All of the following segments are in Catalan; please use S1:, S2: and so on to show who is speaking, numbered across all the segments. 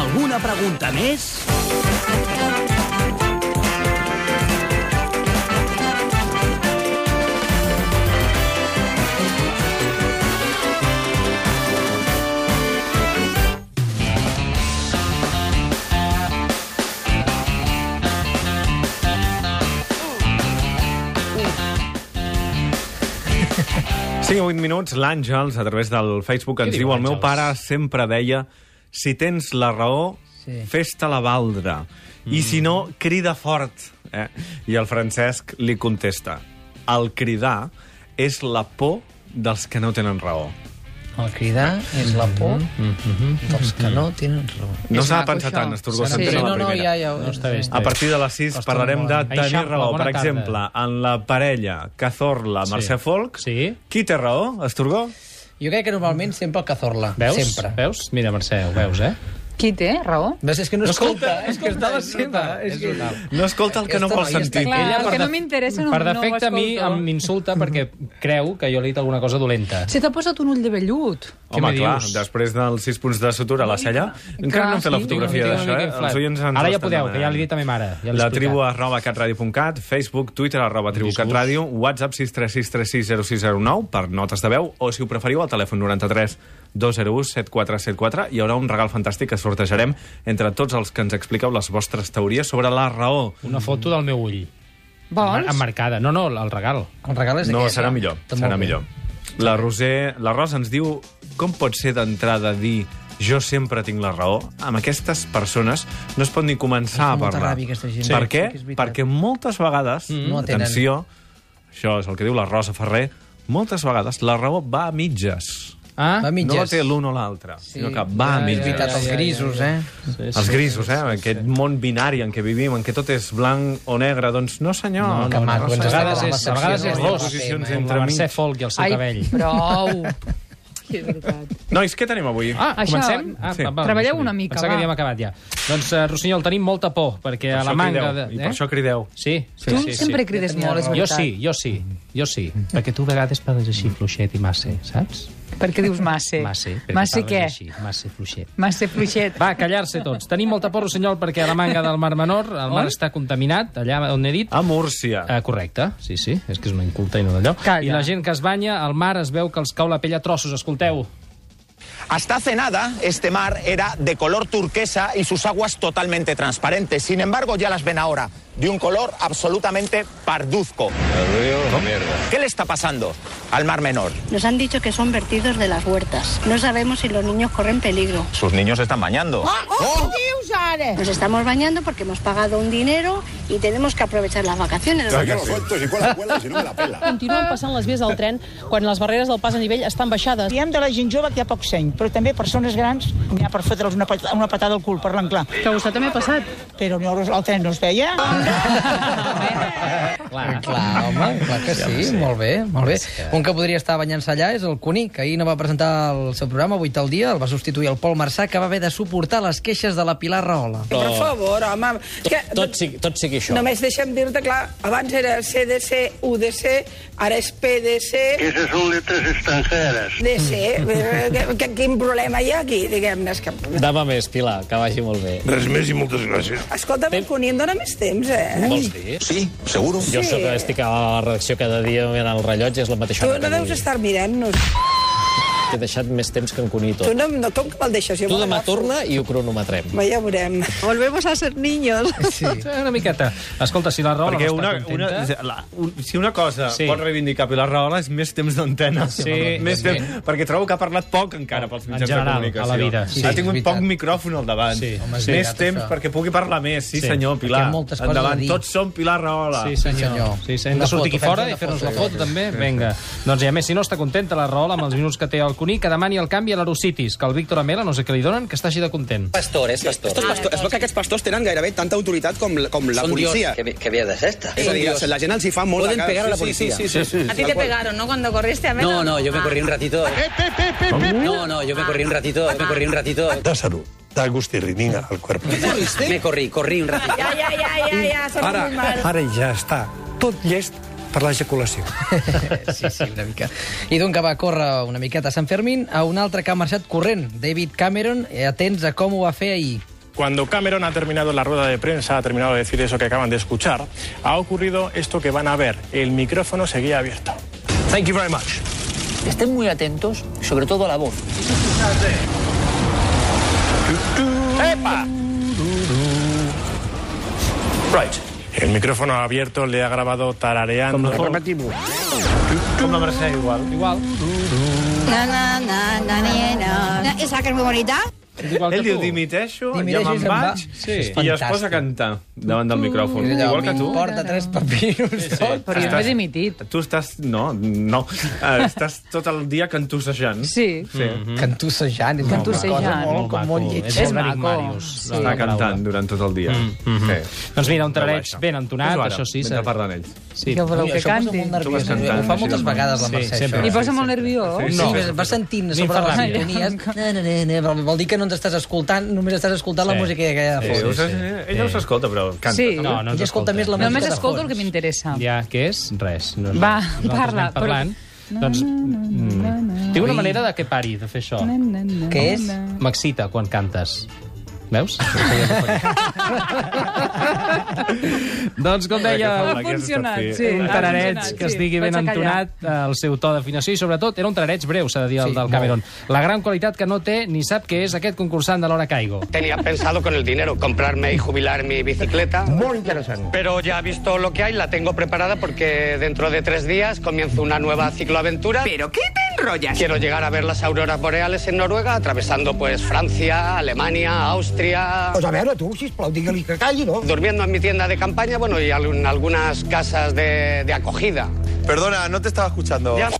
S1: Alguna pregunta més?
S2: Sí, 8 minuts. L'Àngels, a través del Facebook, ens
S3: diu,
S2: diu el meu
S3: Àngels?"
S2: pare sempre deia si tens la raó, sí.
S4: Sí.
S2: fes-te la valdre. Mm. I si no, crida fort. Eh? I el Francesc li contesta el cridar és la por dels que no tenen raó.
S4: El cridar és la por dels que no tenen raó.
S2: No
S3: És
S2: s'ha de
S3: maco,
S2: pensar
S3: això.
S2: tant, Esturgó,
S3: Serà-
S2: s'entén
S3: Sí,
S2: a la
S4: no, no,
S2: primera.
S4: ja, ja ho...
S3: No està bé, està
S2: A
S3: bé.
S2: partir de les 6
S3: Ostres,
S2: parlarem de
S3: molt bé.
S2: tenir
S3: Eixample,
S2: raó.
S3: bona
S2: Per
S3: tarda.
S2: exemple, en la parella Cazorla,
S3: Sí.
S2: Mercè Folk,
S3: Sí.
S2: qui té raó, Esturgó?
S4: Jo crec que normalment sempre el cazorla.
S3: Veus?
S4: Sempre.
S3: Veus? Mira, Mercè, ho veus, eh?
S5: Qui té raó?
S4: Ves, és que no, escolta, eh, és que està a la
S3: és brutal,
S4: seva. És
S3: és
S4: que...
S3: brutal.
S2: No escolta el que no
S4: Aquesta
S2: vol
S4: noia està
S2: sentir.
S5: Clar,
S3: Ella
S5: el
S3: per
S5: que no
S3: def-
S5: m'interessa no,
S3: Per
S5: no ho
S3: defecte a mi
S5: escolto.
S3: em insulta perquè creu que jo li he dit alguna cosa dolenta.
S5: Se t'ha posat un ull de vellut.
S3: Què
S2: Home,
S3: me
S2: clar,
S3: dius?
S2: després dels sis punts de sutura a la cella, encara no hem fet
S5: sí,
S2: la
S5: tinc
S2: fotografia
S3: Tinc una
S2: d'això,
S3: mica
S2: eh?
S3: inflat.
S2: Els oients ens
S3: Ara
S2: ho
S3: ja
S2: estan
S3: podeu, que ja
S2: demanant.
S3: l'he dit a ma mare. Ja l'he
S2: la
S3: explicat.
S2: tribu arroba catradio.cat, Facebook, Twitter arroba tribucatradio, WhatsApp 636360609 per notes de veu, o si ho preferiu al telèfon 93 201 7474. Hi haurà un regal fantàstic que sortejarem entre tots els que ens expliqueu les vostres teories sobre la raó.
S3: Una foto del meu ull.
S5: Vols?
S3: Emmarcada. No, no, el regal.
S4: El regal és
S2: No,
S4: aquest.
S2: serà millor,
S4: Està molt
S2: serà
S4: bé.
S2: millor. La Roser, la Rosa ens diu com pot ser d'entrada dir jo sempre tinc la raó, amb aquestes persones no es pot ni començar a
S4: Molta
S2: parlar.
S4: ràbia, aquesta gent.
S2: Sí, per
S4: Sí,
S2: què?
S4: que és veritat.
S2: Perquè moltes vegades,
S4: No atenen.
S2: atenció, això és el que diu la Rosa Ferrer, moltes vegades la raó va a mitges.
S3: Ah?
S4: Va a mitges.
S2: No la té l'un o l'altre, sí, sinó que va a
S4: ja,
S2: mitges.
S4: És veritat, els grisos, eh?
S3: Sí,
S2: Els grisos, eh? Aquest món binari en què vivim, en què tot és blanc o negre, doncs no, senyor.
S4: No, que maco,
S2: senyor.
S4: ens
S3: A vegades
S4: agrada la
S3: és, a vegades
S4: secció
S3: és
S4: de
S3: dos.
S2: posicions
S4: eh?
S3: Com
S2: entre
S3: la Mercè
S2: mig.
S3: Folk i el seu cabell.
S5: prou. Sí, és veritat.
S2: Nois, què tenim avui?
S3: Ah,
S5: Això-
S3: comencem? Ah,
S2: Sí.
S5: Treballeu
S3: sí.
S5: una mica,
S3: Pensava
S5: va.
S3: que havíem acabat ja. Doncs, uh, Rossinyol, tenim molta por, perquè
S2: Per
S3: a la
S2: això
S3: manga...
S2: crideu,
S3: de- eh?
S2: I per això crideu.
S3: Sí, sí,
S5: tu
S3: sí,
S5: sempre
S3: sí.
S5: crides molt, és
S3: Jo
S5: veritat.
S3: sí, jo sí, jo sí. Perquè tu a vegades parles així fluixet i massa, saps?
S5: Perquè dius massa.
S3: Massa, perquè
S5: Massa
S3: parles
S5: què?
S3: així, massa fluixet.
S5: Massa fluixet.
S3: Va, callar-se tots. Tenim molta por, Rossinyol, perquè a la manga del Mar Menor el mar està contaminat, allà on he
S5: Ah.
S3: dit.
S2: A Múrcia.
S3: Eh, correcte, sí, sí, és que és una inculta i no d'allò.
S5: Calla.
S3: I la gent que es banya, al mar es veu que els cau la pell a trossos, escolteu.
S6: Hasta hace nada, este mar era de color turquesa y sus aguas totalmente transparentes. Sin embargo, ya las ven ahora de un color absolutamente parduzco. ¿Qué le está pasando al Mar Menor?
S7: Nos han dicho que son vertidos de las huertas. No sabemos si los niños corren peligro.
S6: Sus niños se están bañando.
S8: Ah,
S6: ¡Oh!
S7: Nos estamos bañando porque hemos pagado un dinero y tenemos que aprovechar las vacaciones.
S9: Yo lo suelto, si cuela, cuela, y si no me la pela.
S10: continuen passant les vies del tren quan les barreres del pas a nivell estan baixades.
S11: Diem de la gent jove que hi ha poc seny, però també persones grans n'hi ha per fotre'ls una, pat una patada al cul, parlant clar.
S10: Que a vostè també ha passat.
S11: Però no, el tren no es veia.
S3: Clar.
S4: Clar, home, clar que sí, molt bé, molt bé. Un que podria estar banyant-se allà és el Cuní, que ahir no va presentar el seu programa, 8 al dia, el va substituir el Pol Marçà, que va haver de suportar les queixes de la Pilar Rahola.
S11: Per favor, home. Que...
S12: Tot sigui, tot sigui això. No.
S11: Només deixa'm dir-te, clar, abans era CDC, UDC, ara és PDC,
S9: Esas son letras extranjeras.
S11: DC. eh, Que, que, quin problema hi ha aquí, diguem-ne? És que...
S12: Dava més, Pilar, que vagi molt bé.
S9: Res més i moltes gràcies.
S11: Escolta, el Cuní em dóna més temps, eh?
S12: Vols dir?
S6: Sí, seguro.
S12: Jo sóc que estic a la redacció cada dia mirant el rellotge, és la mateixa
S11: Tu
S12: hora
S11: no
S12: que
S11: deus
S12: avui.
S11: estar mirant-nos.
S12: T'he deixat més temps que en Cuní i
S11: Tu
S12: tot.
S11: no, no, com que me'l deixes? Jo
S12: Tu
S11: me
S12: demà
S11: l'agafo.
S12: torna i ho cronometrem.
S11: Va, ja veurem.
S10: Volvemos a ser niños.
S4: Sí.
S3: Una miqueta. Escolta, si la Rahola
S2: Perquè
S3: no
S2: una,
S3: està
S2: una,
S3: contenta...
S2: la, un, si una cosa sí.
S3: Sí.
S2: pot reivindicar Pilar Rahola és més temps d'antena.
S3: Sí,
S2: més
S3: sí.
S2: temps, perquè trobo que ha parlat poc encara pels
S3: En
S2: mitjans
S3: general,
S2: de comunicació.
S3: a la vida.
S2: Sí,
S3: Sí,
S2: ha
S4: és
S2: tingut
S4: veritat.
S2: poc micròfon al davant.
S3: Sí, home,
S2: més
S3: és veritat,
S2: temps
S4: això.
S2: perquè pugui parlar més. Sí,
S3: Sí.
S2: senyor, Pilar.
S4: Perquè moltes coses a
S2: Endavant.
S4: dir.
S2: Tots som Pilar Rahola.
S3: Sí,
S4: Sí, senyor.
S3: senyor. Sí, senyor. Hem
S4: Una
S3: de sortir
S4: foto,
S3: aquí fora
S4: fem-ne
S3: i fer-nos
S4: una
S3: la
S4: foto,
S3: foto, també? Vinga. Doncs i a més, si no està contenta la Rahola amb els minuts que té el Cuní, que demani el canvi a l'Erocitis, que el Víctor Amela, no sé què li donen, que està així de content.
S6: Pastor, és pastor. Estos pastor es veu que aquests pastors tenen gairebé tanta autoritat com, la- com la policia. Que, que via de És a dir, la- la gent els hi fa molt Poden pegar a la policia. Sí, sí, sí. sí, sí.
S10: A ti te pegaron, ¿no? Cuando corriste a menos.
S12: No, no, jo me corrí un ratito. No, no, yo me corrí un ratito, me corrí un ratito.
S9: Da salud, da gustirrinina al cuerpo.
S12: Me corrí, corrí un ratito.
S10: Ya, ya, ya, ya, ya. Son
S6: Ara,
S10: muy malos.
S9: Ara ja està tot llest
S1: per l'ejaculació.
S4: sí, sí, una mica. I d'un que va córrer una miqueta a Sant Fermín a un altre que ha marxat corrent, David Cameron, eh, atents a com ho va fer ahir.
S13: Cuando Cameron ha terminado la rueda de prensa, ha terminado de decir eso que acaban de escuchar, ha ocurrido esto que van a ver. El micrófono seguía abierto. Thank you very much.
S14: Estén muy atentos, sobre todo a la voz.
S13: ¡Epa! Right. El micrófono abierto le ha grabado tarareando.
S1: Como
S13: repetimos. Como Mercedes igual. Igual.
S7: Na, na, na, na, na, na. Na, Esa que es muy bonita.
S3: Igual
S2: Ell
S3: que
S2: diu,
S3: tu.
S2: dimiteixo, Oh, ja
S4: Dimiteixo i
S2: me'n
S4: se'n va.
S2: vaig,
S4: Sí.
S2: sí. i es posa a cantar davant del micròfon,
S4: Allò,
S2: igual que tu.
S4: M'importa tres papiros. Sí, sí.
S5: Però jo m'he dimitit.
S2: Tu estàs... No, no. Eh, Estàs tot el dia cantussejant.
S5: Sí.
S3: Mm,
S4: Mhm. Cantussejant. és
S5: Cantussejant.
S4: una cosa Molt,
S5: Molt
S4: com
S5: maco,
S4: molt
S5: és
S4: lletja.
S5: molt maco. Sí.
S2: Està cantant durant tot el dia. Mm -hmm. sí.
S3: Doncs mira, un
S2: No
S3: trareig
S2: baixa.
S3: ben entonat,
S2: Fes-ho ara,
S3: això sí.
S2: mentre
S3: s'ha-
S2: parlen ells.
S3: Sí.
S5: Que voleu que canti.
S2: Tu
S10: eh?
S2: vas
S4: nerviós.
S2: cantant,
S4: Ho fa
S2: així
S4: moltes
S2: de
S4: vegades la
S2: mal.
S4: Mercè,
S2: Sí,
S4: això.
S2: sempre.
S5: I posa molt nerviós.
S2: Sí,
S4: No.
S2: sí.
S4: Sí, vas sentint a sobre les
S5: M'inferma.
S4: sintonies. Na, na, na, na, vol- Vol dir que no ens estàs escoltant, només estàs escoltant la
S2: Sí.
S4: música que hi ha de
S2: Sí,
S4: fons.
S2: us- Ella us escolta, però canta.
S5: Sí.
S2: també.
S3: No, no ens
S4: Ella escolta més la música
S5: Només
S4: de
S5: escolto el
S4: fons.
S5: que m'interessa.
S3: Ja, què és? Res. No és
S5: Va,
S3: res. Nosaltres
S5: parla,
S3: anem Parlant, però... Doncs... Mm. Tinc una manera de que pari de fer això.
S4: Què és?
S3: M'excita quan cantes. Veus? doncs, com
S5: Ha
S3: deia,
S2: Aquí has estat
S5: funcionat,
S2: fi.
S5: sí.
S3: un
S5: ha
S3: tarareig
S5: funcionat,
S3: que
S5: sí.
S3: estigui ben
S5: Vaig a callar.
S3: entonat, eh, el seu to d'afinació i, sobretot, era un tarareig breu, s'ha de dir, el
S4: Sí,
S3: del
S4: molt.
S3: Cameron. La gran qualitat que no té ni sap què és aquest concursant de l'Hora Caigo.
S8: Tenía pensado con el dinero comprarme y jubilar mi bicicleta,
S1: Molt interessant.
S8: pero ya visto lo que hay, la tengo preparada porque dentro de tres días comienzo una nueva cicloaventura. ¿Pero qué te enrollas? Quiero llegar a ver las auroras boreales en Noruega, atravesando pues Francia, Alemania, Austria.
S1: Doncs Pues a veure, tu, sisplau, digue-li que calli, no?
S8: Durmiendo en mi tienda de campaña, bueno, y al- en algunas casas de, de acogida.
S6: Perdona, no te estaba escuchando.
S8: Ya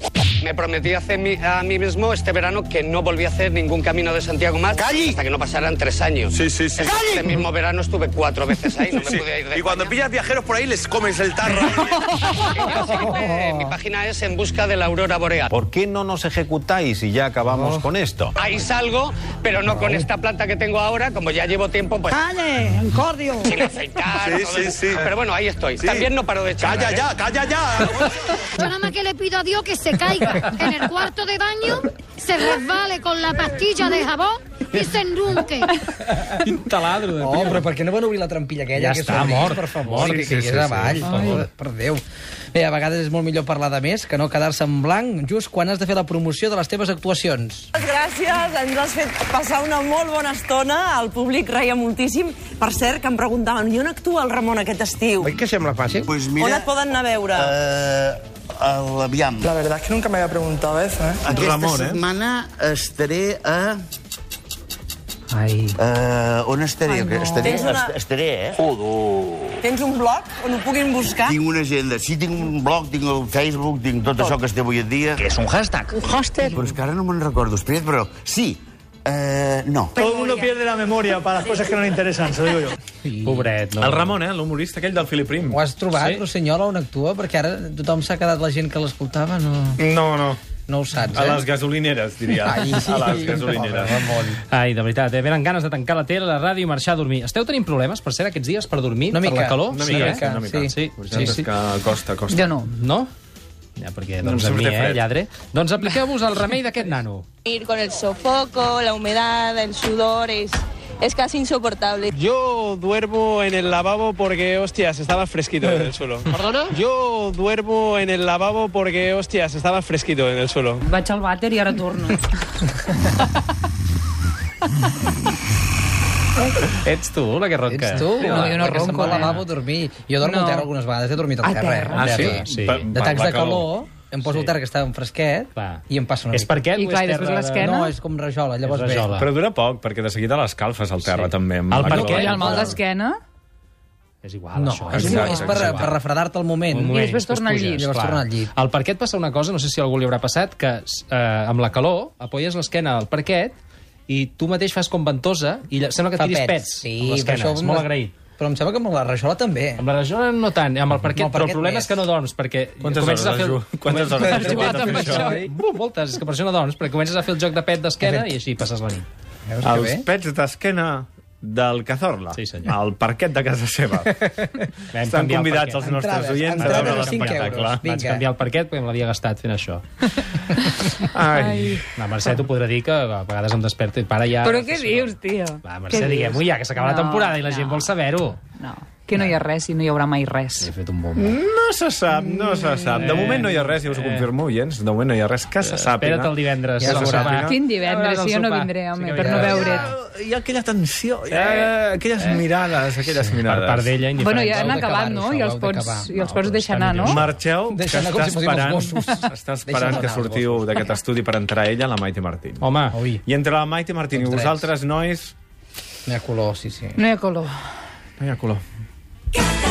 S8: me prometí hace mi- a mí mismo este verano que no volví a hacer ningún camino de Santiago más hasta que no pasaran tres años.
S6: Sí, sí, sí.
S8: Este mismo verano estuve cuatro veces ahí, no me
S6: Sí.
S8: pude ir de
S6: Y cuando pillas viajeros por ahí les comes el tarro.
S8: Eh, Mi página es en busca de la aurora boreal.
S15: ¿Por qué no nos ejecutáis y ya acabamos con esto?
S8: Ahí salgo, pero no con esta planta que tengo ahora, como ya llevo tiempo, pues.
S11: Calle, encordio.
S8: Sin
S1: Ah,
S8: afeitar,
S6: Sí,
S8: todo
S6: sí,
S8: eso.
S6: sí.
S8: Pero bueno, ahí estoy.
S6: Sí.
S8: También no paro de echar.
S6: Calla ya, calla ya.
S7: Yo nada más que le pido a Dios que se caiga en el cuarto de baño, se resbale con la pastilla de jabón y se enrunque.
S3: Quin taladro de
S4: Oh, però per què no van obrir la trampilla aquella?
S3: Ja
S4: que
S3: està
S4: s'obrís,
S3: mort.
S4: Per favor,
S3: Sí,
S4: que
S3: sí,
S4: caigués
S3: sí, sí,
S4: avall.
S3: per
S4: Ai,
S3: favor.
S4: Per Déu. Bé, a vegades és molt millor parlar de més que no quedar-se en blanc just quan has de fer la promoció de les teves actuacions.
S16: Gràcies, ens has fet passar una molt bona estona, el públic reia moltíssim. Per cert, que em preguntaven, i on actua el Ramon aquest estiu?
S1: Oi que sembla fàcil?
S16: Pues On et poden anar a veure?
S1: Eh. Uh, aviam.
S17: La verdad es que nunca me había preguntado eso, ¿eh?
S1: Aquesta
S17: Ramon, eh?
S1: setmana estaré a...
S4: Ai.
S1: Uh, on estaré?
S16: Ai, no.
S1: estaré,
S16: Tens una-
S1: est- estaré, eh? Joder.
S16: Tens un blog on ho puguin buscar?
S1: Tinc una agenda. Sí, tinc un blog, tinc el Facebook, tinc tot, això que es té avui en dia. Que és un hashtag. Un hashtag. Però és que ara no me'n recordo. Espera't, però sí. Uh, no.
S17: Todo el mundo pierde la memoria para las cosas que no le interesan, se lo digo yo.
S3: Pobret, no.
S2: El Ramon, eh, l'humorista aquell del Philip Rim.
S4: Ho has trobat, sí? Rosinyola, on actua? Perquè ara tothom s'ha quedat la gent que l'escoltava, no...
S2: No, no.
S4: No ho saps,
S2: A
S4: eh?
S2: les gasolineres, diria.
S4: Ai.
S2: A les gasolineres.
S3: Ai, de veritat, eh? venen ganes de tancar la tele, la ràdio i marxar a dormir. Esteu tenint problemes, per ser aquests dies per dormir?
S4: Una
S3: Per
S4: mica,
S3: la calor?
S2: Una
S3: sí,
S2: mica,
S3: eh?
S2: una mica.
S3: Sí, sí,
S2: Vosaltres
S3: sí.
S2: Que costa, costa.
S5: Jo no.
S3: No? Ja, perquè,
S2: No em
S3: doncs, no a
S2: surt
S3: mi,
S2: de
S3: eh,
S2: fred.
S3: lladre. Doncs apliqueu-vos el remei d'aquest nano.
S18: Ir con el sofoco, la humedad, el sudor, es, es casi insoportable.
S19: Yo duermo en el lavabo porque, hostias, estaba fresquito en el suelo. ¿Perdona? Yo duermo en el lavabo porque, hostias, estaba fresquito en el suelo.
S5: Vaig al vàter i ara torno.
S3: Ets tu, la que ronca.
S4: Ets tu? No, jo no ronco al lavabo a dormir. Jo dormo
S5: No.
S4: al terra algunes vegades, he dormit al
S5: A
S4: terra. eh,
S5: terra.
S4: al
S3: Ah, sí?
S4: terra.
S3: Sí. Per-
S4: De
S3: per
S4: tacs
S3: la
S4: de
S3: calor.
S4: calor, em poso al terra que està en fresquet
S3: Clar.
S4: i em passo una
S3: És per què?
S5: I clar, i després l'esquena?
S4: No, és com rajola, llavors
S3: És
S4: bé.
S3: rajola.
S2: Ah. Però dura poc, perquè de seguida les calfes al terra, també. amb
S3: El
S2: la
S3: per
S2: calor.
S3: què?
S5: I el mal d'esquena?
S3: És igual,
S4: No,
S3: això. eh?
S4: és,
S2: Exacte,
S4: és per,
S2: exacte.
S4: per refredar-te al moment.
S3: Un moment,
S5: I després torna al
S3: puges,
S5: llit.
S4: Llavors
S3: clar.
S4: torna al llit.
S3: Al parquet passa una cosa, no sé si a algú li haurà passat, que eh, amb la calor apoyes l'esquena al parquet i tu mateix fas com ventosa i lla- sembla que
S4: Fa
S3: tiris
S4: pets.
S3: pets
S4: Sí,
S3: amb
S4: però
S3: l'esquena.
S4: això
S3: És
S4: amb
S3: molt
S4: la-
S3: agraït.
S4: Però em sembla que amb la rajola també.
S3: Amb la rajola no tant, eh, amb el parquet,
S4: Amb el
S3: però el
S4: parquet
S3: problema
S4: més.
S3: és que no dorms, perquè
S2: Quantes
S3: comences
S2: hores
S3: a fer...
S2: has jugat- quantes hores has
S3: has jugat
S2: jugat a
S3: amb
S2: fer
S3: això?
S2: això?
S3: Uh, moltes, és que per això no dorms, perquè comences a fer el joc de pet d'esquena i així passes la nit.
S4: Veus que
S2: Els
S4: bé?
S2: pets d'esquena del Cazorla, sí, al parquet de casa seva. Estan
S3: canviar el
S2: convidats
S3: parquet.
S2: els nostres
S3: Entrades,
S2: oients a
S3: entrades
S2: veure
S3: de cinc
S2: l'espectacle.
S3: euros. Vinga. Vaig canviar el parquet perquè me l'havia gastat fent això.
S5: Ai.
S3: La Mercè t'ho podrà dir que a vegades em desperto i para ja...
S5: Però què dius, tio? Va,
S3: Mercè, diguem-ho ja, que s'acaba la temporada i la gent vol saber-ho.
S5: No, que no hi ha res i no hi haurà mai res.
S3: He fet un bombo.
S2: No se sap, no se sap. De moment no hi ha res, ja us ho confirmo, oients. De moment no hi ha res que se sàpiga.
S3: Eh, espera't el divendres,
S2: Que se
S3: segurament.
S2: sàpiga.
S5: Quin divendres, si jo no vindré, home, per no veure't.
S2: Ah, Hi ha aquella tensió, hi ha
S3: Eh,
S2: aquelles mirades, aquelles sí, mirades.
S3: Per part d'ella, indiferent.
S5: Bueno, ja han acabat, no? I els pots, i els pots deixar anar, no?
S2: Marxeu, que
S3: Deixa anar com
S2: està
S3: si fóssim els
S2: esperant,
S3: gossos.
S2: està
S3: Deixa
S2: esperant
S3: anar
S2: que
S3: els
S2: sortiu d'aquest estudi per entrar ella, la Maite Martín.
S3: Home,
S2: I entre la Maite Martín i
S3: Tots tres.
S2: vosaltres, nois...
S4: No hi ha color, sí, sí.
S5: No hi ha color.
S2: No hi ha color.